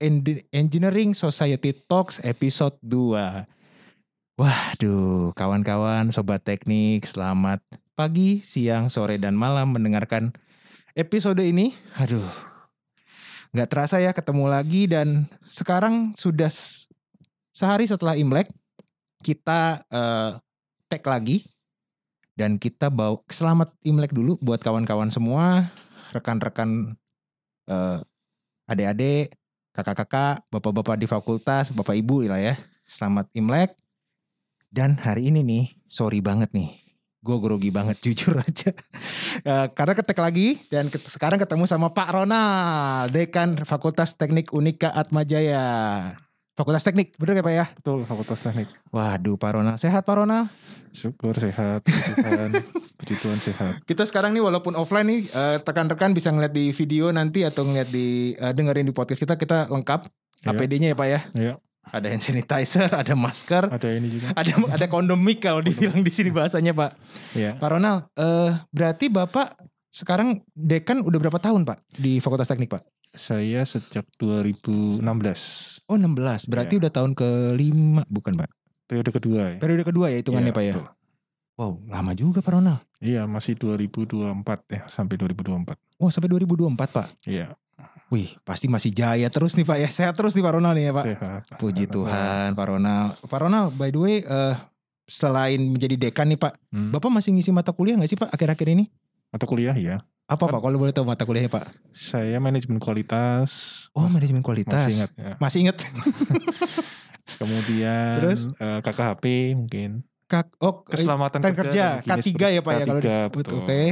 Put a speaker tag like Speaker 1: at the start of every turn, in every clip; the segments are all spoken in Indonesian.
Speaker 1: Endi- Engineering Society Talks episode 2. Waduh, kawan-kawan sobat teknik, selamat pagi, siang, sore dan malam mendengarkan episode ini. Aduh. nggak terasa ya ketemu lagi dan sekarang sudah s- sehari setelah Imlek kita eh, tag lagi dan kita bawa selamat Imlek dulu buat kawan-kawan semua, rekan-rekan eh adik-adik, kakak-kakak, bapak-bapak di fakultas, bapak ibu lah ya. Selamat Imlek. Dan hari ini nih, sorry banget nih. Gue grogi banget, jujur aja. Eh, karena ketek lagi, dan ket- sekarang ketemu sama Pak Ronald, Dekan Fakultas Teknik Unika Atmajaya. Fakultas Teknik, bener ya Pak ya?
Speaker 2: Betul, fakultas teknik.
Speaker 1: Waduh Pak Ronald, sehat Pak Ronald?
Speaker 2: Syukur sehat, puji Tuhan, puji Tuhan sehat.
Speaker 1: Kita sekarang nih walaupun offline nih, eh, rekan-rekan bisa ngeliat di video nanti atau ngeliat di, eh, dengerin di podcast kita, kita lengkap.
Speaker 2: Iya.
Speaker 1: APD-nya ya Pak ya?
Speaker 2: Iya.
Speaker 1: Ada hand sanitizer, ada masker,
Speaker 2: Ada ini juga.
Speaker 1: ada ada kondomik kalau dibilang di sini bahasanya Pak.
Speaker 2: Iya.
Speaker 1: Pak Ronald, eh, berarti Bapak sekarang dekan udah berapa tahun Pak di Fakultas Teknik Pak?
Speaker 2: Saya sejak 2016,
Speaker 1: Oh 16, berarti
Speaker 2: Iya.
Speaker 1: udah tahun kelima bukan Pak?
Speaker 2: periode kedua ya.
Speaker 1: Periode kedua ya hitungannya
Speaker 2: Iya,
Speaker 1: Pak ya?
Speaker 2: betul.
Speaker 1: Wow, lama juga Pak Ronald.
Speaker 2: Iya, masih 2024 ya, sampai 2024.
Speaker 1: Wah sampai 2024 Pak.
Speaker 2: Iya,
Speaker 1: Wih, pasti masih jaya terus nih Pak ya. Sehat terus nih Pak Ronald nih ya Pak.
Speaker 2: sehat.
Speaker 1: Puji
Speaker 2: Alhamdulillah.
Speaker 1: Tuhan Pak Ronald. Pak Ronald, by the way, eh, selain menjadi dekan nih Pak,
Speaker 2: Hmm.
Speaker 1: Bapak masih ngisi mata kuliah nggak sih Pak akhir-akhir ini?
Speaker 2: Atau kuliah ya.
Speaker 1: Apa Pak kalau boleh tahu mata kuliahnya Pak?
Speaker 2: Saya manajemen kualitas.
Speaker 1: Oh
Speaker 2: Mas-
Speaker 1: manajemen kualitas.
Speaker 2: Masih ingat ya.
Speaker 1: Masih inget
Speaker 2: Kemudian
Speaker 1: Terus?
Speaker 2: eh, KKHP mungkin.
Speaker 1: Kak, oh, eh,
Speaker 2: Keselamatan
Speaker 1: Kan kerja,
Speaker 2: dan
Speaker 1: K3
Speaker 2: higienis
Speaker 1: ya, Pak, ya, kalau di-
Speaker 2: K3,
Speaker 1: betul,
Speaker 2: betul.
Speaker 1: oke.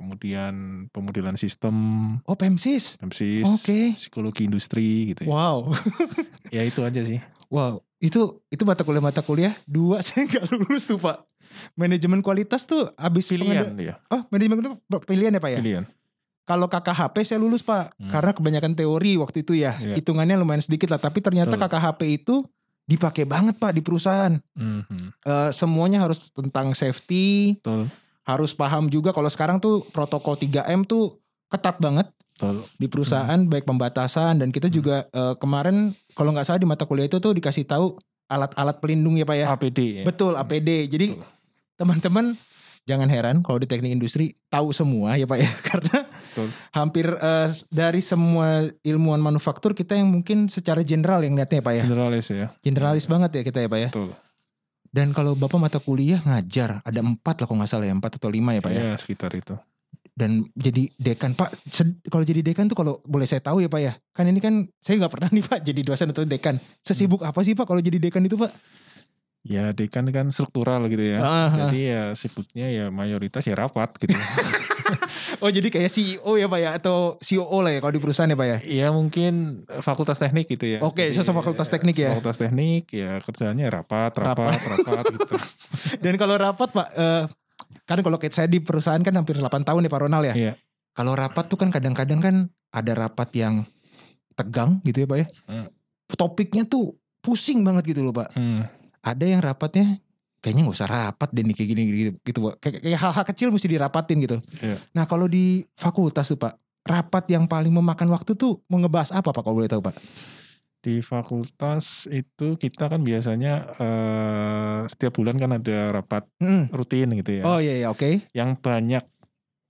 Speaker 2: Kemudian pemodelan sistem,
Speaker 1: oh PEMSIS.
Speaker 2: MCs,
Speaker 1: Oke.
Speaker 2: psikologi industri gitu ya.
Speaker 1: Wow,
Speaker 2: Ya itu aja sih.
Speaker 1: wow, itu itu mata kuliah mata kuliah dua saya nggak lulus tuh pak. Manajemen kualitas tuh abis
Speaker 2: Pilihan ya,
Speaker 1: pengada- Oh manajemen itu pilihan ya pak ya.
Speaker 2: pilihan.
Speaker 1: Kalau KKHP saya lulus pak
Speaker 2: Hmm.
Speaker 1: karena kebanyakan teori waktu itu ya.
Speaker 2: Iya.
Speaker 1: Hitungannya lumayan sedikit lah, tapi ternyata
Speaker 2: Betul.
Speaker 1: KKHP itu dipakai banget pak di perusahaan.
Speaker 2: Mhm,
Speaker 1: Eh, semuanya harus tentang safety,
Speaker 2: Betul,
Speaker 1: harus paham juga kalau sekarang tuh protokol 3M tuh ketat banget.
Speaker 2: betul.
Speaker 1: di perusahaan baik pembatasan dan kita
Speaker 2: Hmm.
Speaker 1: juga eh, kemarin kalau nggak salah di mata kuliah itu tuh dikasih tahu alat-alat pelindung ya pak ya
Speaker 2: APD ya.
Speaker 1: betul
Speaker 2: Hmm.
Speaker 1: APD jadi
Speaker 2: Betul.
Speaker 1: teman-teman jangan heran kalau di teknik industri tahu semua ya pak ya karena
Speaker 2: Betul.
Speaker 1: hampir eh, dari semua ilmuwan manufaktur kita yang mungkin secara general yang lihatnya ya pak ya
Speaker 2: Generalis ya.
Speaker 1: generalis banget ya kita ya pak ya
Speaker 2: Betul.
Speaker 1: dan kalau bapak mata kuliah ngajar ada empat lah kalau nggak salah ya empat atau lima ya pak ya
Speaker 2: Iya, sekitar itu.
Speaker 1: dan jadi dekan pak sed- kalau jadi dekan tuh kalau boleh saya tahu ya pak ya kan ini kan saya nggak pernah nih pak jadi dosen atau dekan sesibuk
Speaker 2: Hmm.
Speaker 1: apa sih pak kalau jadi dekan itu pak
Speaker 2: Ya, dekan kan struktural gitu ya.
Speaker 1: Ah, ah.
Speaker 2: Jadi ya sibuknya ya mayoritas ya rapat gitu.
Speaker 1: oh jadi kayak CEO ya pak ya atau COO lah ya kalau di perusahaan ya pak ya
Speaker 2: Iya mungkin eh, fakultas teknik gitu ya.
Speaker 1: Oke,
Speaker 2: Jadi,
Speaker 1: sesama fakultas
Speaker 2: eh,
Speaker 1: teknik ya.
Speaker 2: Fakultas teknik ya kerjanya rapat, rapat, rapat gitu.
Speaker 1: dan kalau rapat pak eh, kan kalau kayak saya di perusahaan kan hampir 8 tahun ya pak Ronald ya
Speaker 2: Iya.
Speaker 1: kalau rapat tuh kan kadang-kadang kan ada rapat yang tegang gitu ya pak ya
Speaker 2: Hmm.
Speaker 1: topiknya tuh pusing banget gitu loh pak
Speaker 2: Hmm,
Speaker 1: ada yang rapatnya kayaknya nggak usah rapat deh nih kayak gini gitu, gitu Pak. kayak, kayak hal-hal kecil mesti dirapatin gitu
Speaker 2: Iya.
Speaker 1: nah kalau di fakultas tuh pak rapat yang paling memakan waktu tuh mau ngebahas apa pak kalau boleh tahu pak
Speaker 2: Di fakultas itu kita kan biasanya eh, setiap bulan kan ada rapat
Speaker 1: Mm.
Speaker 2: rutin gitu ya.
Speaker 1: oh iya iya oke
Speaker 2: yang banyak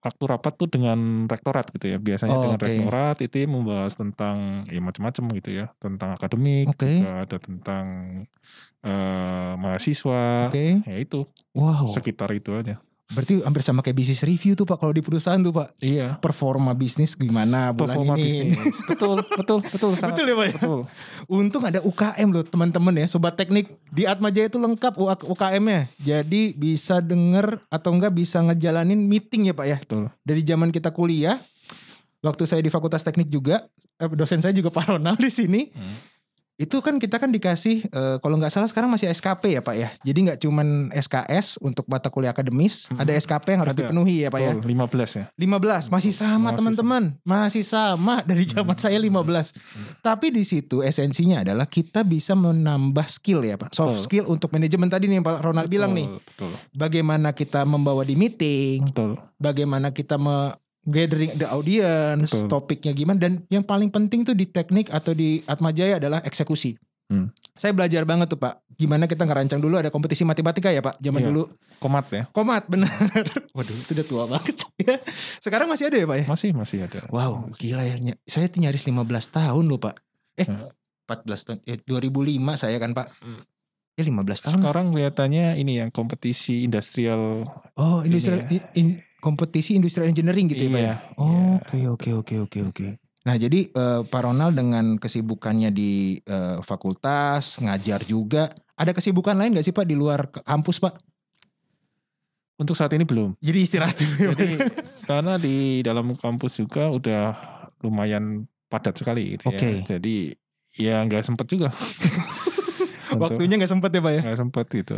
Speaker 2: waktu rapat tuh dengan rektorat gitu ya. Biasanya
Speaker 1: Oh,
Speaker 2: dengan
Speaker 1: oke.
Speaker 2: rektorat itu ya membahas tentang ya macam-macam gitu ya, tentang akademik,
Speaker 1: Oke.
Speaker 2: juga ada tentang eh, mahasiswa.
Speaker 1: oke
Speaker 2: Ya itu,
Speaker 1: wow
Speaker 2: sekitar itu aja.
Speaker 1: berarti hampir sama kayak bisnis review tuh pak kalau di perusahaan tuh pak
Speaker 2: Iya.
Speaker 1: performa bisnis gimana bulan
Speaker 2: Performa
Speaker 1: ini
Speaker 2: bisnis. betul, betul, betul. sangat
Speaker 1: Betul ya Pak ya?
Speaker 2: Betul.
Speaker 1: Untung ada UKM loh teman-teman ya Sobat Teknik Di Atmajaya itu lengkap UKM-nya Jadi bisa denger atau enggak bisa ngejalanin meeting ya Pak ya
Speaker 2: Betul.
Speaker 1: Dari zaman kita kuliah Waktu saya di Fakultas Teknik juga eh, Dosen saya juga Pak Ronald di sini
Speaker 2: Hmm.
Speaker 1: Itu kan kita kan dikasih eh, Kalau nggak salah sekarang masih SKP ya Pak ya Jadi nggak cuman SKS untuk mata kuliah akademis
Speaker 2: Hmm.
Speaker 1: Ada SKP yang harus
Speaker 2: Ada.
Speaker 1: dipenuhi ya Pak ya
Speaker 2: Betul, 15 ya.
Speaker 1: 15 masih sama
Speaker 2: Masih
Speaker 1: teman-teman masih sama dari zaman
Speaker 2: Hmm.
Speaker 1: saya 15 tapi di situ esensinya adalah kita bisa menambah skill ya Pak soft
Speaker 2: Betul.
Speaker 1: skill untuk manajemen tadi nih yang Pak Ronald bilang nih
Speaker 2: Betul, Betul.
Speaker 1: bagaimana kita membawa di meeting
Speaker 2: Betul.
Speaker 1: bagaimana kita me- gathering the audience,
Speaker 2: Betul.
Speaker 1: topiknya gimana dan yang paling penting tuh di teknik atau di Atmajaya adalah eksekusi.
Speaker 2: Hmm.
Speaker 1: Saya belajar banget tuh Pak, gimana kita ngerancang dulu ada kompetisi matematika ya Pak, zaman
Speaker 2: Iya.
Speaker 1: dulu.
Speaker 2: Komat ya.
Speaker 1: Komat bener. Waduh, itu udah tua banget saya. Sekarang masih ada ya Pak ya?
Speaker 2: Masih masih ada.
Speaker 1: Wow, gila ya. Ny- Saya tuh nyaris 15 tahun loh Pak. Eh,
Speaker 2: Hmm.
Speaker 1: 14 tahun. Eh, 2005 saya kan Pak.
Speaker 2: Hmm.
Speaker 1: Ya 15 tahun.
Speaker 2: Sekarang kelihatannya ini yang kompetisi industrial
Speaker 1: Oh, industrial
Speaker 2: Ini ya.
Speaker 1: in- kompetisi industrial engineering gitu ya Pak ya?
Speaker 2: Iya, Hmm. iya.
Speaker 1: Oke oke oke oke oke. Nah jadi eh, Pak Ronald dengan kesibukannya di eh, fakultas ngajar juga, ada kesibukan lain nggak sih Pak di luar ke- kampus Pak?
Speaker 2: Untuk saat ini belum.
Speaker 1: Jadi istirahat dulu.
Speaker 2: Jadi karena di dalam kampus juga udah lumayan padat sekali gitu
Speaker 1: Oke.
Speaker 2: ya. Jadi ya nggak sempet juga. Untuk-
Speaker 1: Waktunya nggak sempet ya Pak ya?
Speaker 2: nggak sempet gitu.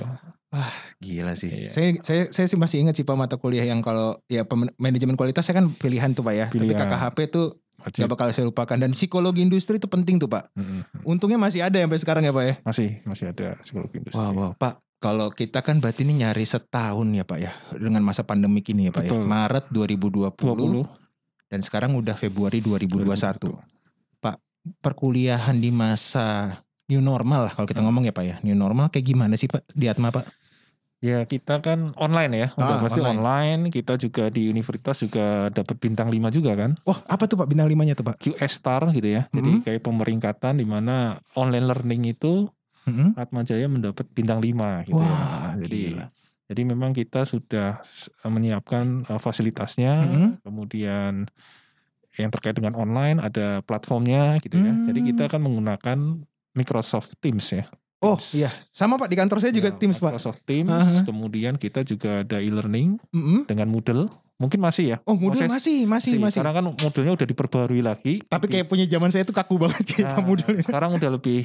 Speaker 1: Gila sih.
Speaker 2: Iya.
Speaker 1: Saya saya saya sih masih ingat sih Pak mata kuliah yang kalau ya pemen- manajemen kualitas saya kan pilihan tuh Pak ya. Tapi
Speaker 2: Pilihan. Iya.
Speaker 1: KKHP tuh
Speaker 2: Wajib.
Speaker 1: nggak bakal saya lupakan dan psikologi industri itu penting tuh Pak.
Speaker 2: Mm-mm.
Speaker 1: Untungnya masih ada ya sampai sekarang ya Pak ya.
Speaker 2: Masih masih ada psikologi industri.
Speaker 1: Wow, wow, Pak. Kalau kita kan berarti ini nyari setahun ya Pak ya dengan masa pandemik ini ya Pak ya.
Speaker 2: Betul.
Speaker 1: Maret 2020
Speaker 2: 20
Speaker 1: dan sekarang udah Februari 2021. Perkuliahan di masa new normal lah kalau kita
Speaker 2: Hmm.
Speaker 1: ngomong ya Pak ya. New normal kayak gimana sih Pak di Atma Pak?
Speaker 2: Ya kita kan online ya,
Speaker 1: Ah,
Speaker 2: udah pasti
Speaker 1: online.
Speaker 2: online. Kita juga di universitas juga dapat bintang 5 juga kan,
Speaker 1: Wah, apa tuh Pak bintang limanya tuh Pak?
Speaker 2: QS star gitu ya.
Speaker 1: Mhm.
Speaker 2: Jadi kayak pemeringkatan di mana online learning itu
Speaker 1: Mm-mm.
Speaker 2: Atma Jaya mendapat bintang 5 gitu ya.
Speaker 1: Wah,
Speaker 2: Nah, Jadi
Speaker 1: gila.
Speaker 2: jadi memang kita sudah s- eh, menyiapkan uh, fasilitasnya,
Speaker 1: Mm-mm.
Speaker 2: kemudian yang terkait dengan online ada platformnya gitu ya. Jadi
Speaker 1: Hmm.
Speaker 2: kita akan menggunakan Microsoft Teams ya.
Speaker 1: Oh
Speaker 2: Teams.
Speaker 1: iya, sama Pak di kantor saya juga
Speaker 2: Ya,
Speaker 1: Teams Pak. Uh-huh.
Speaker 2: Microsoft Teams,
Speaker 1: Aha.
Speaker 2: kemudian kita juga ada e-learning
Speaker 1: Mm-mm.
Speaker 2: dengan Moodle. Mungkin masih ya.
Speaker 1: Oh Moodle
Speaker 2: Proses-
Speaker 1: masih, masih, masih.
Speaker 2: Sekarang kan Moodle-nya udah diperbarui lagi.
Speaker 1: Tapi kayak punya zaman saya tuh kaku banget kayak Pak
Speaker 2: Nah,
Speaker 1: Moodle. ini.
Speaker 2: sekarang udah lebih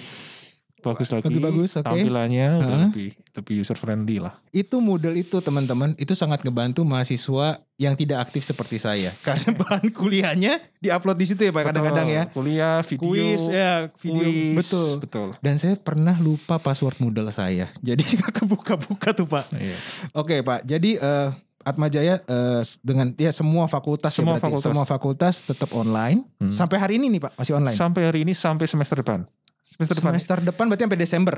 Speaker 2: bagus lagi.
Speaker 1: Lebih bagus, oke. Uh-huh.
Speaker 2: Tampilannya udah
Speaker 1: Heeh.
Speaker 2: lebih lebih user friendly lah.
Speaker 1: itu model itu teman-teman itu sangat ngebantu mahasiswa yang tidak aktif seperti saya karena bahan kuliahnya diupload di situ ya pak kadang-kadang ya
Speaker 2: Betul. Kuliah, video,
Speaker 1: kuis ya video
Speaker 2: kuis,
Speaker 1: betul
Speaker 2: Betul.
Speaker 1: dan saya pernah lupa password model saya jadi nggak kebuka-buka tuh pak
Speaker 2: Iya.
Speaker 1: oke pak jadi eh, Atma Jaya eh, s- dengan ya semua fakultas
Speaker 2: Semua
Speaker 1: ya berarti
Speaker 2: fakultas.
Speaker 1: semua fakultas tetap online
Speaker 2: Hmm.
Speaker 1: sampai hari ini nih pak masih online
Speaker 2: Sampai hari ini sampai semester depan. Semester depan
Speaker 1: semester depan berarti sampai Desember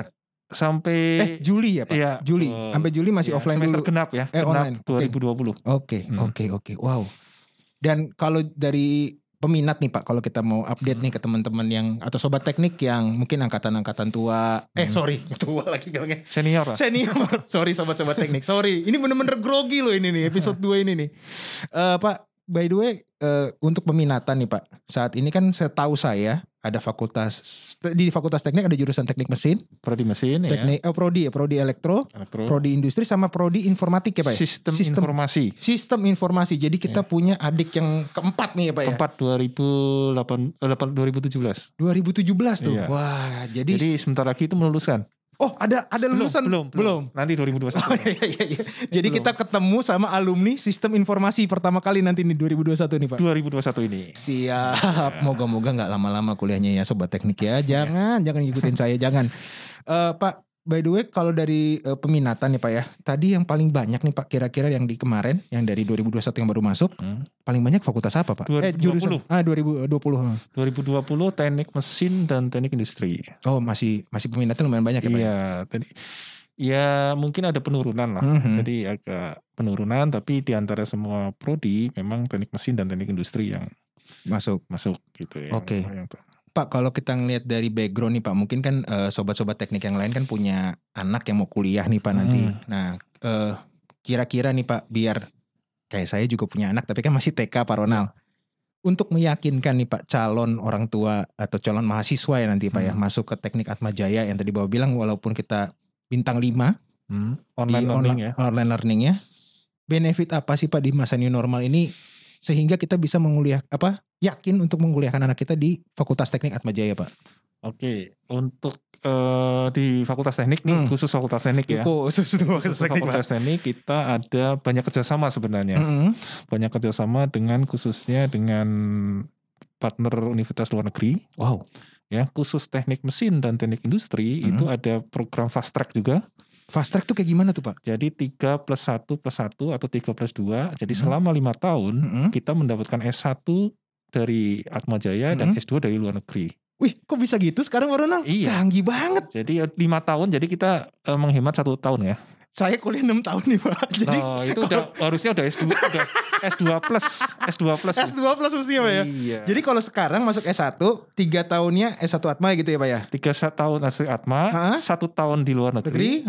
Speaker 2: sampai
Speaker 1: eh Juli ya pak
Speaker 2: iya,
Speaker 1: Juli
Speaker 2: eh,
Speaker 1: sampai Juli masih
Speaker 2: iya,
Speaker 1: offline
Speaker 2: semester
Speaker 1: dulu
Speaker 2: genap ya.
Speaker 1: Eh,
Speaker 2: genap
Speaker 1: online. Oke.
Speaker 2: 2020.
Speaker 1: Oke,
Speaker 2: Hmm.
Speaker 1: oke, oke. Wow. Dan kalau dari peminat nih Pak, kalau kita mau update
Speaker 2: Hmm.
Speaker 1: nih ke teman-teman yang atau sobat teknik yang mungkin angkatan-angkatan tua, eh
Speaker 2: Hmm.
Speaker 1: sorry, tua lagi bilangnya.
Speaker 2: Senior lah.
Speaker 1: Senior. sorry sobat-sobat teknik. Sorry. Ini bener-bener grogi loh ini nih episode 2 ini nih. Eh Pak, by the way, eh, untuk peminatan nih Pak. Saat ini kan setahu saya ada fakultas di Fakultas Teknik ada jurusan Teknik Mesin,
Speaker 2: Prodi mesin ya.
Speaker 1: Teknik eh, prodi ya, prodi elektro,
Speaker 2: Elektro.
Speaker 1: prodi industri sama prodi informatik ya Pak ya?
Speaker 2: sistem,
Speaker 1: Sistem
Speaker 2: informasi.
Speaker 1: sistem informasi. Jadi
Speaker 2: Iya.
Speaker 1: kita punya adik yang keempat nih ya Pak ya.
Speaker 2: Tempat 2008 eh, 8 2017.
Speaker 1: 2017 tuh.
Speaker 2: Iya.
Speaker 1: Wah, jadi,
Speaker 2: Jadi sebentar lagi itu meluluskan.
Speaker 1: oh ada ada lulusan
Speaker 2: belum, belum. Nanti 2021.
Speaker 1: Oh, iya, iya, iya. Jadi
Speaker 2: Belum.
Speaker 1: kita ketemu sama alumni sistem informasi pertama kali nanti nih 2021 nih Pak.
Speaker 2: 2021 ini.
Speaker 1: Siap. Moga-moga nggak lama-lama kuliahnya ya sobat teknik ya. Jangan, jangan ngikutin saya, jangan. Eh, Pak, by the way kalau dari eh, peminatan nih Pak ya. Tadi yang paling banyak nih Pak kira-kira yang di kemarin yang dari 2021 yang baru masuk,
Speaker 2: Hmm.
Speaker 1: paling banyak fakultas apa Pak? Eh, jurusan.
Speaker 2: 2020.
Speaker 1: Ah, 2020. heeh.
Speaker 2: 2020 teknik mesin dan teknik industri.
Speaker 1: Oh masih masih peminatnya lumayan banyak ya Pak? ya?
Speaker 2: Iya, tadi ya mungkin ada penurunan lah.
Speaker 1: Mhm.
Speaker 2: Jadi agak penurunan tapi di antara semua prodi memang teknik mesin dan teknik industri yang
Speaker 1: Masuk.
Speaker 2: masuk gitu ya.
Speaker 1: Oke.
Speaker 2: Yang- yang-
Speaker 1: Pak kalau kita ngelihat dari background nih Pak, mungkin kan eh, sobat-sobat teknik yang lain kan punya anak yang mau kuliah nih Pak nanti.
Speaker 2: Hmm.
Speaker 1: Nah eh, kira-kira nih Pak biar kayak saya juga punya anak tapi kan masih TK Pak Ronald. Untuk meyakinkan nih Pak calon orang tua atau calon mahasiswa ya nanti Pak ya
Speaker 2: Hmm.
Speaker 1: masuk ke teknik Atma Jaya yang tadi bawa bilang walaupun kita bintang 5
Speaker 2: Hmm.
Speaker 1: di
Speaker 2: Online learning ya.
Speaker 1: online learningnya benefit apa sih pak di masa new normal ini sehingga kita bisa menguliah apa yakin untuk menguliahkan anak kita di Fakultas Teknik Atmajaya pak
Speaker 2: Oke, untuk eh, di Fakultas Teknik
Speaker 1: Hmm.
Speaker 2: nih, khusus Fakultas Teknik ya.
Speaker 1: khusus untuk
Speaker 2: Khusus Fakultas Teknik kita ada banyak kerjasama sebenarnya.
Speaker 1: Mm-mm.
Speaker 2: banyak kerjasama dengan khususnya dengan partner universitas luar negeri
Speaker 1: wow
Speaker 2: ya khusus teknik mesin dan teknik industri
Speaker 1: Mhm.
Speaker 2: itu ada program fast track juga
Speaker 1: Fast track tuh kayak gimana tuh Pak?
Speaker 2: Jadi 3 plus 1 plus 1 atau 3 plus 2. Jadi
Speaker 1: Mhm.
Speaker 2: selama lima tahun
Speaker 1: Mm-mm.
Speaker 2: kita mendapatkan S1 dari Atma Jaya dan
Speaker 1: Mhm.
Speaker 2: S2 dari luar negeri.
Speaker 1: Wih, kok bisa gitu sekarang Bang Ronald?
Speaker 2: Iya.
Speaker 1: Canggih banget.
Speaker 2: Jadi eh, lima tahun, jadi kita eh, menghemat satu tahun ya.
Speaker 1: Saya kuliah 6 tahun nih Pak. Jadi
Speaker 2: Nah, itu udah harusnya udah S2, udah S2 plus, S2 plus.
Speaker 1: S2 plus mestinya Pak ya.
Speaker 2: Nah. Iya.
Speaker 1: Jadi kalau sekarang masuk S1, 3 tahunnya S1 Atma gitu ya Pak ya?
Speaker 2: tiga sa- tahun asli
Speaker 1: Ha-ha.
Speaker 2: Atma, satu tahun di luar negeri,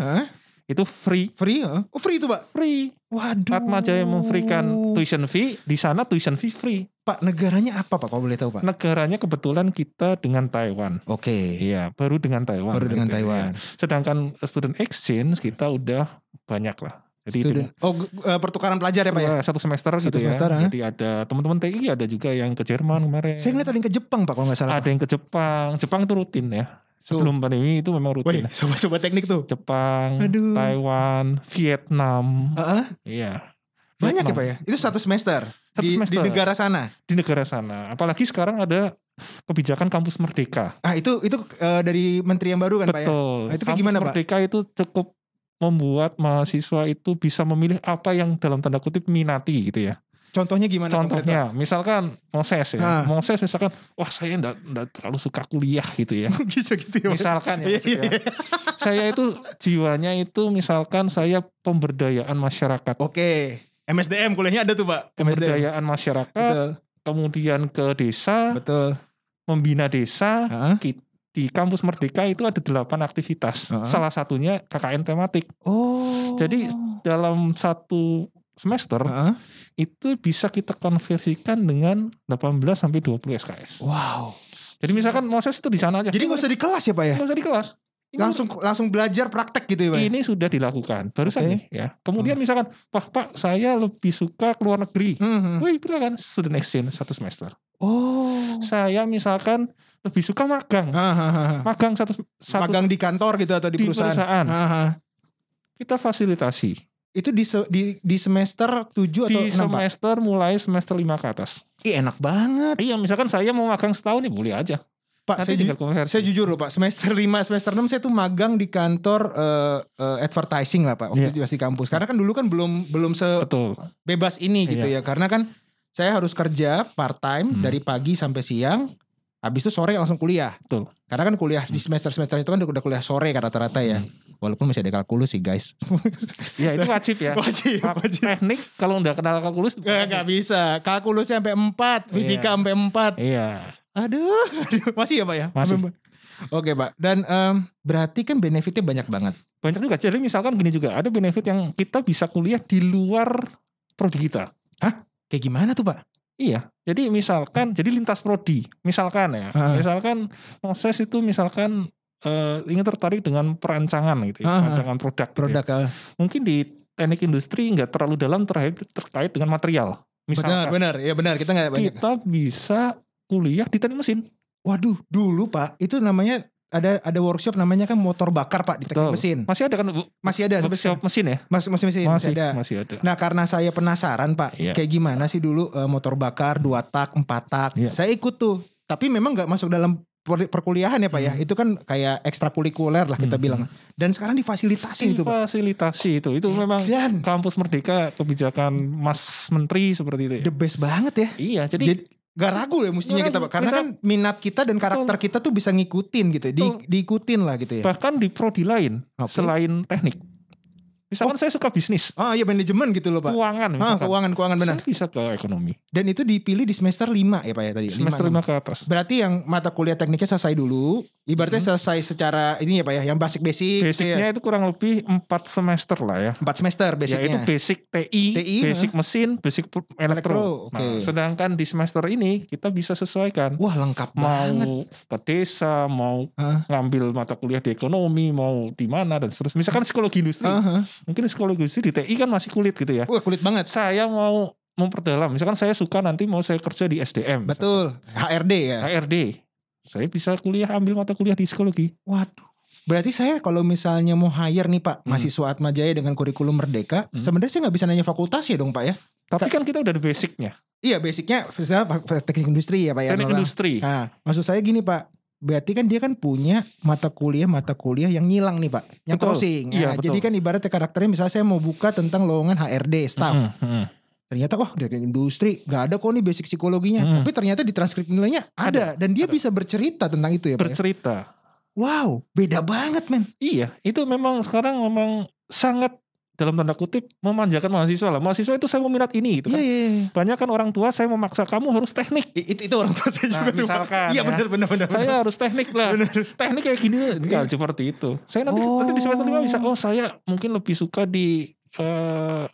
Speaker 1: Negeri, hah?
Speaker 2: itu free,
Speaker 1: free, hah? Oh free itu Pak?
Speaker 2: free.
Speaker 1: Waduh.
Speaker 2: Atma Jaya memberikan tuition fee, di sana tuition fee free.
Speaker 1: Pak, negaranya apa Pak? Kalau boleh tahu Pak?
Speaker 2: Negaranya kebetulan kita dengan Taiwan.
Speaker 1: Oke.
Speaker 2: Nah. Iya, baru dengan Taiwan.
Speaker 1: Baru dengan
Speaker 2: gitu ya.
Speaker 1: Taiwan.
Speaker 2: Sedangkan student exchange kita udah banyak lah. Jadi
Speaker 1: Student. Oh, gu- eh, pertukaran pelajar ya Pak ya?
Speaker 2: dengan- satu semester
Speaker 1: Satu
Speaker 2: gitu
Speaker 1: semester,
Speaker 2: ya.
Speaker 1: ah.
Speaker 2: Jadi ada teman-teman TI ada juga yang ke Jerman kemarin.
Speaker 1: Saya ngeliat ada yang ke Jepang Pak kalau nggak salah.
Speaker 2: ada yang ke Jepang. Jepang itu rutin ya.
Speaker 1: Tuh.
Speaker 2: Sebelum pandemi itu memang
Speaker 1: Woi,
Speaker 2: rutin.
Speaker 1: sobat-sobat teknik tuh.
Speaker 2: Jepang,
Speaker 1: Aduh.
Speaker 2: Taiwan, Vietnam.
Speaker 1: Heeh,
Speaker 2: Iya.
Speaker 1: banyak ya
Speaker 2: Vietnam.
Speaker 1: Pak ya? Itu satu semester.
Speaker 2: Satu
Speaker 1: di,
Speaker 2: semester.
Speaker 1: di negara sana.
Speaker 2: Di negara sana. Apalagi sekarang ada kebijakan kampus merdeka.
Speaker 1: Ah, itu itu eh, dari menteri yang baru kan Pak ya?
Speaker 2: Betul.
Speaker 1: Nah, itu kayak
Speaker 2: Kampus
Speaker 1: gimana, Pak?
Speaker 2: Merdeka itu cukup membuat mahasiswa itu bisa memilih apa yang dalam tanda kutip minati gitu ya.
Speaker 1: Contohnya gimana konkretnya?
Speaker 2: Contohnya, misalkan Moses ya.
Speaker 1: Ah.
Speaker 2: Moses misalkan, wah saya enggak, terlalu suka kuliah gitu ya.
Speaker 1: Bisa gitu ya. Pak?
Speaker 2: Misalkan
Speaker 1: Iya,
Speaker 2: ya, maksudnya.
Speaker 1: iya, iya.
Speaker 2: saya itu jiwanya itu misalkan saya pemberdayaan masyarakat.
Speaker 1: Oh, Oke. MSDM kuliahnya ada tuh Pak. MSDM.
Speaker 2: Pemberdayaan masyarakat,
Speaker 1: Betul.
Speaker 2: kemudian ke desa,
Speaker 1: Betul.
Speaker 2: membina desa.
Speaker 1: Heeh.
Speaker 2: Di kampus Merdeka itu ada delapan aktivitas.
Speaker 1: Ah.
Speaker 2: Salah satunya KKN tematik.
Speaker 1: Oh.
Speaker 2: Jadi, Dalam satu semester
Speaker 1: Heeh.
Speaker 2: itu bisa kita konversikan dengan 18 sampai 20 SKS.
Speaker 1: Wow.
Speaker 2: Jadi misalkan Moses itu di sana
Speaker 1: Oh.
Speaker 2: aja.
Speaker 1: Jadi nggak usah di kelas ya Pak ya?
Speaker 2: Nggak usah di kelas. Ini,
Speaker 1: Langsung langsung belajar praktek gitu ya Pak? ya?
Speaker 2: ini sudah dilakukan barusan
Speaker 1: Oke. Hmm.
Speaker 2: nih ya. Kemudian misalkan, "Pak, Pak, saya lebih suka ke luar negeri."
Speaker 1: Mhm.
Speaker 2: Wih, silakan student exchange satu semester.
Speaker 1: Oh.
Speaker 2: Saya misalkan lebih suka magang.
Speaker 1: Ah, ah, ah, ah.
Speaker 2: Magang satu satu
Speaker 1: Magang di kantor gitu atau di,
Speaker 2: di
Speaker 1: perusahaan.
Speaker 2: perusahaan.
Speaker 1: Ah, ah.
Speaker 2: Kita fasilitasi.
Speaker 1: Itu di se- di, di semester 7 atau 6
Speaker 2: Di
Speaker 1: Pak?
Speaker 2: semester mulai semester 5 ke atas.
Speaker 1: Ih, enak banget.
Speaker 2: Iya, misalkan saya mau magang setahun ya boleh aja.
Speaker 1: Pak,
Speaker 2: Nanti
Speaker 1: saya, ju-
Speaker 2: tinggal konversi.
Speaker 1: saya jujur loh Pak, semester 5, semester 6 saya tuh magang di kantor eh, eh, advertising lah Pak. Waktu
Speaker 2: Iya.
Speaker 1: itu masih kampus. Karena kan dulu kan belum belum
Speaker 2: Betul.
Speaker 1: sebebas ini gitu ya.
Speaker 2: Iya.
Speaker 1: Karena kan saya harus kerja part time
Speaker 2: Hmm.
Speaker 1: dari pagi sampai siang. Habis itu sore langsung kuliah.
Speaker 2: Betul. Hmm.
Speaker 1: Karena kan kuliah di semester-semester itu kan udah kuliah sore kan rata-rata ya. Walaupun masih ada kalkulus sih guys.
Speaker 2: Ya itu wajib ya.
Speaker 1: wajib,
Speaker 2: Pak, Teknik kalau nggak kenal kalkulus.
Speaker 1: Gak, gak bisa. Kalkulusnya sampai 4, fisika
Speaker 2: Iya.
Speaker 1: sampai 4.
Speaker 2: Iya.
Speaker 1: Aduh, aduh. masih ya Pak ya?
Speaker 2: Masih.
Speaker 1: Sampai empat. Oke Pak, dan em, berarti kan benefitnya banyak banget.
Speaker 2: Banyak juga. Jadi misalkan gini juga ada benefit yang kita bisa kuliah di luar prodi kita.
Speaker 1: Kayak gimana tuh Pak?
Speaker 2: Iya. Jadi misalkan jadi lintas prodi. Misalkan ya.
Speaker 1: Ah.
Speaker 2: Misalkan proses itu misalkan eh, ingin tertarik dengan perancangan gitu, ya,
Speaker 1: Ah, ah.
Speaker 2: perancangan produk. gitu ya.
Speaker 1: Produk eh,
Speaker 2: Mungkin di teknik industri nggak terlalu dalam terkait terkait dengan material.
Speaker 1: benar,
Speaker 2: Misalkan
Speaker 1: benar, ya benar kita nggak banyak.
Speaker 2: kita bisa kuliah di teknik mesin.
Speaker 1: Waduh, dulu Pak itu namanya ada ada workshop namanya kan motor bakar Pak di teknik
Speaker 2: Betul.
Speaker 1: mesin.
Speaker 2: Masih ada kan bu-
Speaker 1: Hmm. Iya, Masih ada sampai
Speaker 2: workshop
Speaker 1: sekarang.
Speaker 2: mesin ya?
Speaker 1: Mas, masih, masih, masih
Speaker 2: Masih
Speaker 1: ada.
Speaker 2: masih ada.
Speaker 1: Nah karena saya penasaran Pak,
Speaker 2: Iya.
Speaker 1: kayak gimana sih dulu eh, motor bakar dua tak empat tak,
Speaker 2: Iya.
Speaker 1: saya ikut tuh. Tapi memang nggak masuk dalam per- perkuliahan ya Pak ya, itu kan kayak ekstrakurikuler lah kita
Speaker 2: Hmm. Iya,
Speaker 1: bilang. Dan sekarang difasilitasi itu Pak. Iya.
Speaker 2: fasilitasi itu itu memang
Speaker 1: Dan
Speaker 2: kampus merdeka kebijakan Mas Menteri seperti itu ya.
Speaker 1: the best banget ya.
Speaker 2: Iya, jadi,
Speaker 1: Jadi nggak ragu ya mestinya
Speaker 2: Nggak
Speaker 1: kita
Speaker 2: ragu.
Speaker 1: Pak, karena
Speaker 2: Misal-
Speaker 1: kan minat kita dan karakter kita tuh bisa ngikutin gitu, ya, di,
Speaker 2: Betul.
Speaker 1: diikutin lah gitu ya.
Speaker 2: bahkan di prodi lain
Speaker 1: Oke.
Speaker 2: selain teknik. Misalkan saya suka bisnis,
Speaker 1: Oh iya manajemen gitu loh Pak.
Speaker 2: keuangan
Speaker 1: Ah,
Speaker 2: misalkan.
Speaker 1: keuangan keuangan benar.
Speaker 2: Saya bisa ke ekonomi.
Speaker 1: Dan itu dipilih di semester 5 ya Pak ya tadi. Lima,
Speaker 2: Semester
Speaker 1: enam.
Speaker 2: 5 ke atas.
Speaker 1: Berarti yang mata kuliah tekniknya selesai dulu, ibaratnya selesai secara ini ya Pak ya, yang basic-basic gitu ya.
Speaker 2: Hmm. Basicnya itu kurang lebih 4 semester lah ya.
Speaker 1: 4 semester
Speaker 2: Yaitu
Speaker 1: basicnya.
Speaker 2: basic TI,
Speaker 1: TI,
Speaker 2: basic mesin, basic pu- elektro.
Speaker 1: Elektro,
Speaker 2: Nah,
Speaker 1: oke.
Speaker 2: sedangkan di semester ini kita bisa sesuaikan
Speaker 1: Wah, lengkap banget.
Speaker 2: mau ke desa, mau
Speaker 1: Heeh.
Speaker 2: ngambil mata kuliah di ekonomi, mau di mana dan seterusnya. Misalkan psikologi industri,
Speaker 1: Heeh.
Speaker 2: mungkin psikologi industri di TI kan masih kulit gitu ya.
Speaker 1: Wah, kulit banget.
Speaker 2: Saya mau memperdalam, misalkan saya suka nanti mau saya kerja di SDM,
Speaker 1: Betul. HRD ya.
Speaker 2: HRD, saya bisa kuliah ambil mata kuliah di psikologi.
Speaker 1: Waduh. Berarti saya kalau misalnya mau hire nih Pak,
Speaker 2: Hmm.
Speaker 1: mahasiswa Atma Jaya dengan kurikulum Merdeka,
Speaker 2: Hmm.
Speaker 1: sebenarnya saya nggak bisa nanya fakultas ya dong Pak ya?
Speaker 2: Tapi kan kita udah ada basicnya,
Speaker 1: Iya, basicnya misalnya fak- teknik industri ya Pak ya.
Speaker 2: teknik
Speaker 1: Nolang.
Speaker 2: industri.
Speaker 1: Nah, maksud saya gini Pak, berarti kan dia kan punya mata kuliah mata kuliah yang nyilang nih pak, yang
Speaker 2: Betul.
Speaker 1: crossing.
Speaker 2: Iya,
Speaker 1: Nah,
Speaker 2: betul.
Speaker 1: jadi kan ibaratnya karakternya misalnya saya mau buka tentang lowongan HRD
Speaker 2: Hmm,
Speaker 1: staff,
Speaker 2: Mm-mm, mm-mm.
Speaker 1: ternyata oh dia kayak industri nggak ada kok nih basic psikologinya,
Speaker 2: Mm.
Speaker 1: tapi ternyata di transkrip nilainya ada, dan dia
Speaker 2: ada.
Speaker 1: bisa bercerita tentang itu ya pak. ya?
Speaker 2: Bercerita.
Speaker 1: Wow, beda banget men.
Speaker 2: Iya, itu memang sekarang memang sangat dalam tanda kutip memanjakan mahasiswa lah. Mahasiswa itu saya mau minat ini
Speaker 1: Iya
Speaker 2: gitu kan.
Speaker 1: iya. iya.
Speaker 2: Banyak kan orang tua saya memaksa kamu harus teknik.
Speaker 1: I- Itu itu orang tua saya
Speaker 2: Nah,
Speaker 1: juga tuh, Pak.
Speaker 2: misalkan
Speaker 1: Iya
Speaker 2: ya.
Speaker 1: benar benar benar.
Speaker 2: Saya harus teknik
Speaker 1: benar.
Speaker 2: lah.
Speaker 1: Benar.
Speaker 2: Teknik kayak gini enggak seperti itu. Saya
Speaker 1: Iya.
Speaker 2: nanti
Speaker 1: Oh.
Speaker 2: nanti di semester lima bisa oh saya mungkin lebih suka di eh,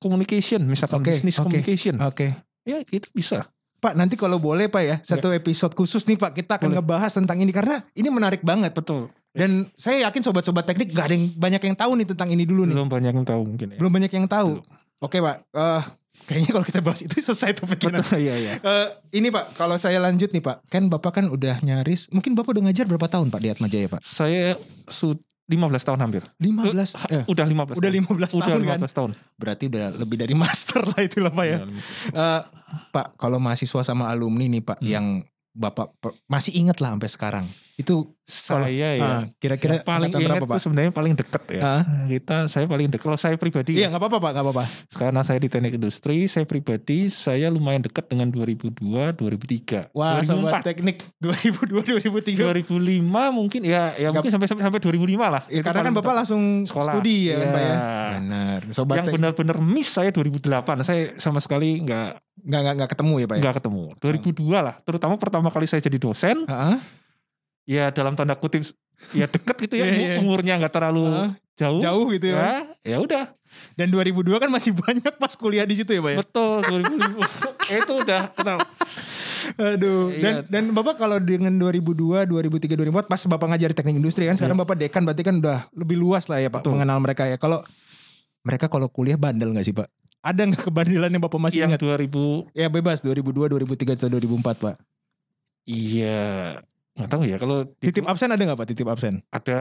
Speaker 2: communication misalkan
Speaker 1: Oke,
Speaker 2: bisnis
Speaker 1: oke.
Speaker 2: communication.
Speaker 1: Oke.
Speaker 2: Ya itu bisa.
Speaker 1: Pak nanti kalau boleh Pak ya satu episode khusus nih Pak kita akan
Speaker 2: Boleh.
Speaker 1: ngebahas tentang ini karena ini menarik banget
Speaker 2: Betul.
Speaker 1: dan saya yakin sobat-sobat teknik gak ada yang banyak yang tahu nih tentang ini dulu nih
Speaker 2: Belum banyak yang tahu mungkin ya.
Speaker 1: belum banyak yang tahu
Speaker 2: Belum.
Speaker 1: oke Pak eh, kayaknya kalau kita bahas itu selesai topik kita.
Speaker 2: Betul, iya iya.
Speaker 1: Eh, ini Pak kalau saya lanjut nih Pak kan Bapak kan udah nyaris mungkin Bapak udah ngajar berapa tahun Pak di Atmajaya Pak
Speaker 2: Saya su 15 tahun hampir.
Speaker 1: 15 eh,
Speaker 2: Udah
Speaker 1: udah
Speaker 2: 15. tahun.
Speaker 1: 15
Speaker 2: udah
Speaker 1: tahun
Speaker 2: 15
Speaker 1: kan
Speaker 2: tahun.
Speaker 1: berarti udah lebih dari master lah itulah Pak ya
Speaker 2: Udah
Speaker 1: Eh,
Speaker 2: 15.
Speaker 1: Pak, kalau mahasiswa sama alumni nih Pak,
Speaker 2: Hmm.
Speaker 1: yang Bapak pe- masih inget lah sampai sekarang. Itu Kalau-
Speaker 2: Saya ya.
Speaker 1: ah, kira-kira
Speaker 2: yang paling
Speaker 1: angkatan
Speaker 2: ingat
Speaker 1: berapa
Speaker 2: tuh
Speaker 1: Pak?
Speaker 2: sebenarnya paling deket ya.
Speaker 1: Ah.
Speaker 2: Kita saya paling deket. Kalau saya pribadi
Speaker 1: Iya
Speaker 2: ya,
Speaker 1: nggak apa-apa Pak, nggak apa-apa.
Speaker 2: karena saya di teknik industri, saya pribadi saya lumayan deket dengan 2002, 2003,
Speaker 1: Wah, sobat
Speaker 2: 2004,
Speaker 1: teknik 2002 2003.
Speaker 2: 2005 mungkin ya
Speaker 1: Nggak-
Speaker 2: ya mungkin sampai sampai sampai 2005 lah.
Speaker 1: Ya,
Speaker 2: Itu
Speaker 1: karena kan
Speaker 2: paling
Speaker 1: Bapak
Speaker 2: deket.
Speaker 1: langsung
Speaker 2: Sekolah.
Speaker 1: studi ya kan,
Speaker 2: Iya.
Speaker 1: Pak ya. Benar. Sobat
Speaker 2: yang
Speaker 1: teknik
Speaker 2: benar-benar miss saya 2008. Saya sama sekali nggak
Speaker 1: nggak nggak- nggak ketemu ya Pak ya.
Speaker 2: nggak ketemu. 2002 lah, terutama pertama kali saya jadi dosen.
Speaker 1: Heeh.
Speaker 2: ya dalam tanda kutip ya deket gitu
Speaker 1: Iya,
Speaker 2: ya umur-
Speaker 1: iya.
Speaker 2: umurnya nggak terlalu
Speaker 1: Heeh,
Speaker 2: jauh,
Speaker 1: jauh gitu ya. Pak.
Speaker 2: ya ya udah
Speaker 1: Dan 2002 kan masih banyak pas kuliah di situ ya Pak ya.
Speaker 2: betul 2005 Ya, itu udah kenal
Speaker 1: Aduh. Dan
Speaker 2: Iya.
Speaker 1: dan Bapak kalau dengan 2002, 2003, 2004 pas Bapak ngajar teknik industri kan sekarang Bapak dekan berarti kan udah lebih luas lah ya Pak
Speaker 2: Iya. Betul.
Speaker 1: mengenal mereka ya. Kalau mereka kalau kuliah bandel nggak sih Pak? Ada nggak kebandelan yang Bapak masih
Speaker 2: yang
Speaker 1: ingat?
Speaker 2: 2000
Speaker 1: Ya bebas 2002, 2003 atau 2004 Pak.
Speaker 2: iya nggak tahu ya kalau di-
Speaker 1: Titip absen ada nggak Pak? Titip absen?
Speaker 2: ada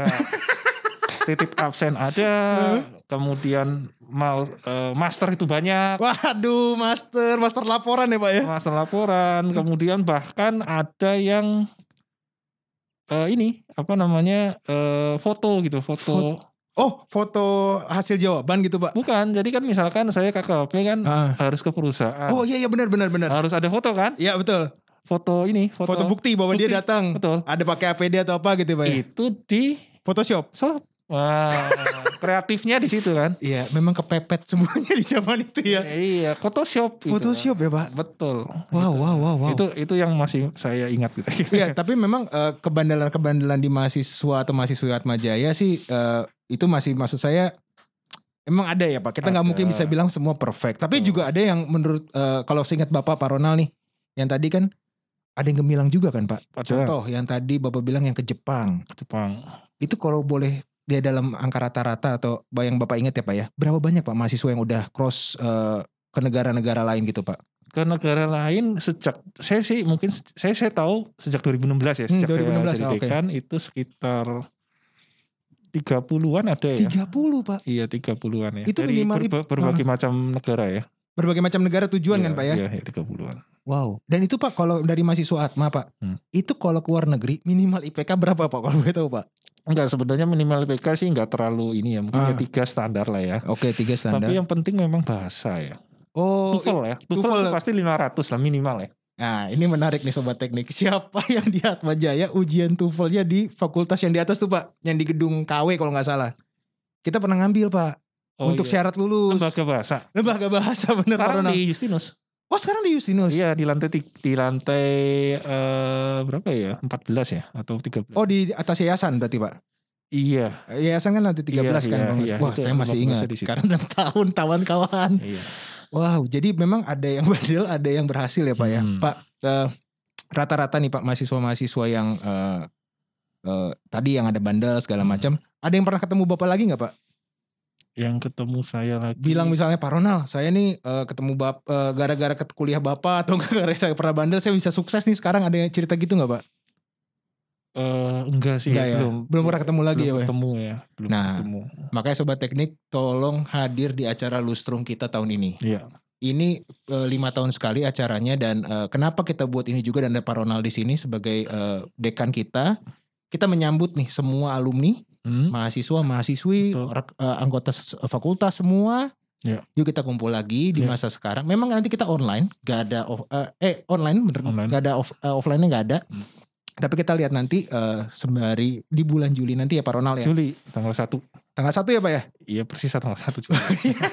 Speaker 2: titip absen ada
Speaker 1: Heeh.
Speaker 2: kemudian mal eh, master itu banyak
Speaker 1: Waduh, master, master laporan ya Pak ya.
Speaker 2: master laporan kemudian bahkan ada yang eh, ini apa namanya eh, foto gitu foto
Speaker 1: Oh, foto hasil jawaban gitu Pak.
Speaker 2: bukan jadi kan misalkan saya KKP kan
Speaker 1: Ah.
Speaker 2: harus ke perusahaan.
Speaker 1: Oh iya iya benar benar benar.
Speaker 2: harus ada foto kan?
Speaker 1: Iya betul.
Speaker 2: Foto ini, foto,
Speaker 1: Foto, bukti bahwa dia
Speaker 2: Bukti. Iya.
Speaker 1: datang.
Speaker 2: Betul.
Speaker 1: Ada pakai APD atau apa gitu Pak ya.
Speaker 2: Itu di
Speaker 1: Photoshop.
Speaker 2: shop. Wah, kreatifnya di situ kan?
Speaker 1: Iya, memang kepepet semuanya di zaman itu ya.
Speaker 2: Iya, Photoshop. gitu.
Speaker 1: Photoshop ya, Pak.
Speaker 2: Betul.
Speaker 1: Wow,
Speaker 2: Gitu.
Speaker 1: wow, wow, wow.
Speaker 2: Itu itu yang masih saya ingat gitu.
Speaker 1: Iya, tapi memang eh, kebandelan-kebandelan di mahasiswa atau mahasiswi Atmajaya sih eh, itu masih maksud saya emang ada ya, Pak. Kita nggak
Speaker 2: Ada.
Speaker 1: mungkin bisa bilang semua perfect, tapi
Speaker 2: Betul.
Speaker 1: juga ada yang menurut eh, kalau seingat Bapak Pak Ronald nih, yang tadi kan ada yang gemilang juga kan, Pak.
Speaker 2: Ada.
Speaker 1: Contoh yang tadi Bapak bilang yang ke Jepang.
Speaker 2: Jepang.
Speaker 1: Itu kalau boleh dia dalam angka rata-rata atau yang Bapak ingat ya, Pak ya. Berapa banyak Pak mahasiswa yang udah cross eh, ke negara-negara lain gitu, Pak?
Speaker 2: Ke negara lain sejak saya sih mungkin se- saya saya tahu sejak 2016 ya,
Speaker 1: Hmm, 2016,
Speaker 2: sejak saya
Speaker 1: ah,
Speaker 2: jadi
Speaker 1: oke.
Speaker 2: dekan itu sekitar 30-an ada ya.
Speaker 1: 30, Pak.
Speaker 2: Iya 30-an ya.
Speaker 1: Itu
Speaker 2: Dari
Speaker 1: minimal-
Speaker 2: berba- berbagai macam negara ya.
Speaker 1: berbagai macam negara tujuan
Speaker 2: Iya,
Speaker 1: kan pak ya.
Speaker 2: Iya, iya 30-an.
Speaker 1: Wow. Dan itu pak kalau dari mahasiswa Atma pak,
Speaker 2: Hmm.
Speaker 1: itu kalau keluar negeri minimal IPK berapa pak kalau boleh tahu pak?
Speaker 2: Enggak sebenarnya minimal IPK sih enggak terlalu ini ya mungkin ya
Speaker 1: Ah.
Speaker 2: tiga standar lah ya.
Speaker 1: Oke tiga
Speaker 2: Tapi
Speaker 1: standar.
Speaker 2: yang penting memang bahasa ya.
Speaker 1: oh, i-
Speaker 2: TOEFL ya. TOEFL,
Speaker 1: TOEFL.
Speaker 2: itu pasti 500 lah minimal ya.
Speaker 1: nah ini menarik nih sobat teknik. Siapa yang di Atma Jaya ujian tuvelnya di fakultas yang di atas tuh pak, yang di gedung KW kalau nggak salah. Kita pernah ngambil pak untuk
Speaker 2: iya.
Speaker 1: syarat lulus.
Speaker 2: lembaga bahasa.
Speaker 1: Lembaga bahasa bener Pak
Speaker 2: Sekarang
Speaker 1: Ronald.
Speaker 2: di Justinus.
Speaker 1: Oh sekarang di Justinus.
Speaker 2: Iya di lantai ti- di lantai eh, berapa ya? 14 ya atau 13.
Speaker 1: Oh di atas yayasan berarti pak.
Speaker 2: Iya.
Speaker 1: Yayasan kan nanti 13
Speaker 2: Iya,
Speaker 1: kan.
Speaker 2: iya,
Speaker 1: kalau nggak-
Speaker 2: iya.
Speaker 1: Wah
Speaker 2: Itu
Speaker 1: saya masih
Speaker 2: lembaga
Speaker 1: ingat.
Speaker 2: bahasa di situ.
Speaker 1: Karena 6 tahun kawan-kawan.
Speaker 2: Iya.
Speaker 1: Wow, jadi memang ada yang bandel, ada yang berhasil ya Pak ya.
Speaker 2: Hmm.
Speaker 1: Pak, eh, rata-rata nih Pak mahasiswa-mahasiswa yang eh, eh, tadi yang ada bandel segala
Speaker 2: Hmm.
Speaker 1: macam, ada yang pernah ketemu Bapak lagi nggak Pak?
Speaker 2: Yang ketemu saya lagi.
Speaker 1: Bilang misalnya Pak Ronald, saya nih eh, ketemu bap eh, gara-gara ke kuliah Bapak atau nggak gara-gara saya pernah bandel, saya bisa sukses nih sekarang ada yang cerita gitu nggak Pak?
Speaker 2: Eh, enggak sih
Speaker 1: Nggak ya?
Speaker 2: belum.
Speaker 1: Belum pernah ketemu lagi
Speaker 2: belum
Speaker 1: ya, Pak?
Speaker 2: ketemu ya. Belum
Speaker 1: Nah.
Speaker 2: ketemu.
Speaker 1: Makanya Sobat Teknik, tolong hadir di acara lustrung kita tahun ini.
Speaker 2: Iya.
Speaker 1: ini eh, lima tahun sekali acaranya dan eh, kenapa kita buat ini juga dan ada Pak Ronald di sini sebagai eh, dekan kita. Kita menyambut nih semua alumni,
Speaker 2: Hmm.
Speaker 1: mahasiswa, mahasiswi,
Speaker 2: Betul.
Speaker 1: rek- eh, anggota ses- fakultas semua.
Speaker 2: Ya.
Speaker 1: Yuk kita kumpul lagi di
Speaker 2: Ya.
Speaker 1: masa sekarang. Memang nanti kita online, gak ada off- eh eh, online bener,
Speaker 2: Online.
Speaker 1: gak ada off, eh, offline-nya gak ada.
Speaker 2: Hmm.
Speaker 1: Tapi kita lihat nanti eh, sembari di bulan Juli nanti ya Pak Ronald ya.
Speaker 2: Juli tanggal 1
Speaker 1: Tanggal satu ya Pak ya.
Speaker 2: Iya persis tanggal 1 Juli.
Speaker 1: Oh, iya.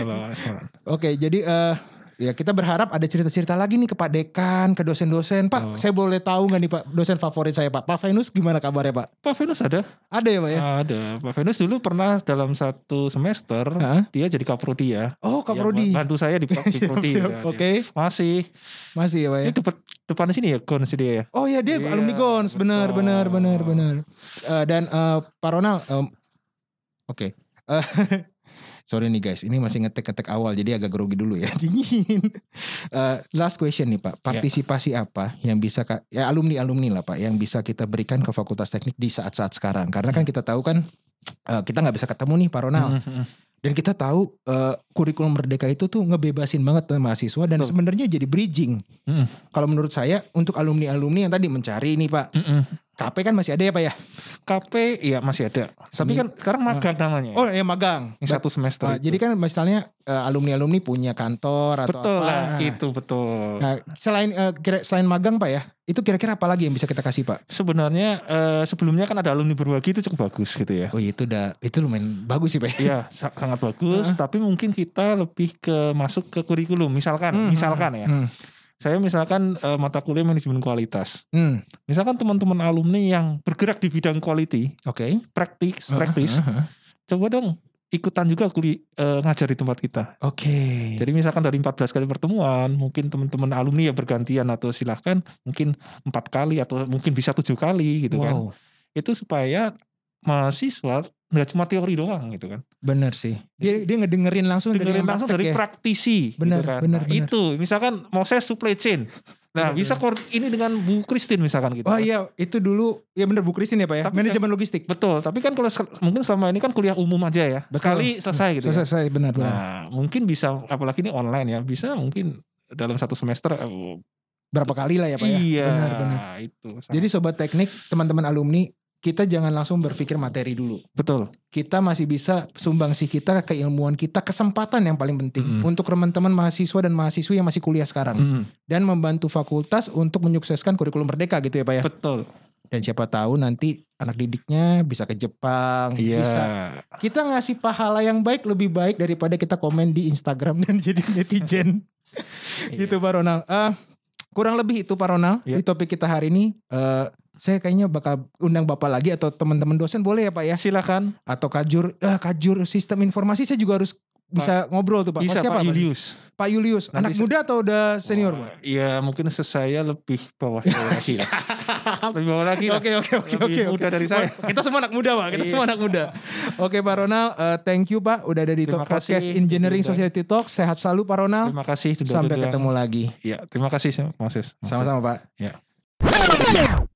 Speaker 2: Tanggal 1.
Speaker 1: Oke, jadi eh ya kita berharap ada cerita-cerita lagi nih ke Pak Dekan, ke dosen-dosen. Pak,
Speaker 2: Oh.
Speaker 1: saya boleh tahu nggak nih Pak dosen favorit saya Pak? Pak Venus gimana kabarnya Pak?
Speaker 2: Pak Venus ada?
Speaker 1: Ada ya
Speaker 2: Ah,
Speaker 1: Pak ya?
Speaker 2: Ada. Pak Venus dulu pernah dalam satu semester
Speaker 1: Hah?
Speaker 2: dia jadi kaprodi ya.
Speaker 1: Oh, Kak Prodi.
Speaker 2: Dia Bantu saya di, di
Speaker 1: Siap,
Speaker 2: prodi.
Speaker 1: siap.
Speaker 2: ya, dia.
Speaker 1: Oke,
Speaker 2: Masih.
Speaker 1: masih ya Pak ya?
Speaker 2: Ini depan depan sini ya Gon sih dia ya.
Speaker 1: Oh ya dia
Speaker 2: Iya,
Speaker 1: alumni Gons, benar,
Speaker 2: betul.
Speaker 1: benar, benar, benar. Eh, dan eh, Pak Ronald, em, oke. Eh, sorry nih guys, ini masih ngetek-ngetek awal, jadi agak grogi dulu ya, dingin. Eh, last question nih
Speaker 2: Ya.
Speaker 1: Pak, partisipasi apa yang bisa ka- ya alumni alumni lah Pak, yang bisa kita berikan ke Fakultas Teknik di saat-saat sekarang? Karena
Speaker 2: Hmm.
Speaker 1: kan kita tahu kan eh, kita nggak bisa ketemu nih Pak Ronald,
Speaker 2: Mm-mm.
Speaker 1: dan kita tahu eh, kurikulum Merdeka itu tuh ngebebasin banget eh, mahasiswa dan
Speaker 2: Betul. Hmm.
Speaker 1: sebenarnya jadi bridging.
Speaker 2: Mm-mm.
Speaker 1: Kalau menurut saya untuk alumni-alumni yang tadi mencari nih Pak.
Speaker 2: Mm-mm.
Speaker 1: KP kan masih ada ya Pak ya?
Speaker 2: KP ya masih ada. Tapi
Speaker 1: Ini-
Speaker 2: kan sekarang magang namanya.
Speaker 1: Oh ya magang.
Speaker 2: yang satu semester.
Speaker 1: Nah,
Speaker 2: itu.
Speaker 1: jadi kan misalnya eh, alumni-alumni punya kantor atau
Speaker 2: betul
Speaker 1: apa.
Speaker 2: lah gitu. itu betul.
Speaker 1: Nah, selain eh, kira- selain magang Pak ya, itu kira-kira apa lagi yang bisa kita kasih Pak?
Speaker 2: Sebenarnya eh, sebelumnya kan ada alumni berbagi itu cukup bagus gitu ya.
Speaker 1: Oh itu udah itu lumayan bagus sih Pak. ya.
Speaker 2: Iya, sa-
Speaker 1: Nah.
Speaker 2: sangat bagus. Tapi mungkin kita lebih ke masuk ke kurikulum. Misalkan,
Speaker 1: Hmm,
Speaker 2: misalkan ya,
Speaker 1: Hmm.
Speaker 2: saya misalkan eh, mata kuliah manajemen kualitas.
Speaker 1: Hmm,
Speaker 2: Misalkan teman-teman alumni yang bergerak di bidang quality,
Speaker 1: Oke.
Speaker 2: praktis, praktis,
Speaker 1: Ah, ah, ah.
Speaker 2: coba dong ikutan juga kuli eh, ngajar di tempat kita.
Speaker 1: Oke.
Speaker 2: Jadi misalkan dari 14 kali pertemuan, mungkin teman-teman alumni ya bergantian atau silahkan mungkin empat kali atau mungkin bisa tujuh kali gitu kan.
Speaker 1: Wow.
Speaker 2: Itu supaya mahasiswa nggak cuma teori doang gitu kan.
Speaker 1: Bener sih. Dia dia ngedengerin langsung
Speaker 2: dengerin
Speaker 1: yang
Speaker 2: langsung
Speaker 1: praktek ya?
Speaker 2: dari praktisi
Speaker 1: Benar,
Speaker 2: gitu kan.
Speaker 1: benar,
Speaker 2: Nah,
Speaker 1: benar.
Speaker 2: itu misalkan Moses supply chain. Nah,
Speaker 1: Benar,
Speaker 2: bisa
Speaker 1: benar.
Speaker 2: koor- ini dengan Bu Christine misalkan gitu.
Speaker 1: Oh
Speaker 2: kan.
Speaker 1: iya, itu dulu ya bener Bu Kristin ya Pak ya.
Speaker 2: Tapi kan-
Speaker 1: Manajemen logistik.
Speaker 2: Betul, tapi kan kalau sel- mungkin selama ini kan kuliah umum aja ya.
Speaker 1: Betul.
Speaker 2: Sekali selesai gitu. ya.
Speaker 1: Selesai selesai, benar benar.
Speaker 2: Nah, mungkin bisa apalagi ini online ya. Bisa mungkin dalam satu semester eh,
Speaker 1: Berapa kali lah ya Pak ya?
Speaker 2: Iya,
Speaker 1: Benar benar.
Speaker 2: itu. Sangat-
Speaker 1: Jadi sobat teknik, teman-teman alumni, kita jangan langsung berpikir materi dulu.
Speaker 2: betul.
Speaker 1: Kita masih bisa sumbangsih kita, keilmuan kita, kesempatan yang paling penting
Speaker 2: Mm.
Speaker 1: untuk teman-teman mahasiswa dan mahasiswi yang masih kuliah sekarang
Speaker 2: Mm,
Speaker 1: dan membantu fakultas untuk menyukseskan kurikulum merdeka gitu ya Pak ya.
Speaker 2: Betul.
Speaker 1: Dan siapa tahu nanti anak didiknya bisa ke Jepang,
Speaker 2: Iya.
Speaker 1: bisa kita ngasih pahala yang baik lebih baik daripada kita komen di Instagram dan jadi netizen. gitu Pak Ronald. Eh, kurang lebih itu Pak Ronald
Speaker 2: Iya.
Speaker 1: di topik kita hari ini. Eh, saya kayaknya bakal undang Bapak lagi atau teman-teman dosen boleh ya Pak ya?
Speaker 2: Ya silakan.
Speaker 1: Atau kajur eh, kajur sistem informasi saya juga harus bisa ngobrol tuh Pak.
Speaker 2: Bisa
Speaker 1: Pak siapa
Speaker 2: Pak
Speaker 1: Pak?
Speaker 2: Julius.
Speaker 1: Pak Julius.
Speaker 2: Nanti
Speaker 1: Anak
Speaker 2: saya-
Speaker 1: muda atau udah senior Pak?
Speaker 2: Iya, mungkin sesaya lebih bawah lagi. lah. lebih bawah lagi. lah.
Speaker 1: Oke oke oke
Speaker 2: Lebih
Speaker 1: oke.
Speaker 2: muda
Speaker 1: oke.
Speaker 2: dari saya.
Speaker 1: Kita semua anak muda Pak. Kita
Speaker 2: Iya.
Speaker 1: semua anak muda. Oke Pak Ronald, eh, thank you Pak udah ada di
Speaker 2: Terima
Speaker 1: to- podcast
Speaker 2: kasih.
Speaker 1: Engineering
Speaker 2: Terima
Speaker 1: Society Talk. Sehat selalu Pak Ronald.
Speaker 2: Terima kasih. Iya,
Speaker 1: Sampai ketemu lagi.
Speaker 2: Ya, terima kasih Mas Yus. Mas Yus.
Speaker 1: Sama-sama Pak.
Speaker 2: Ya.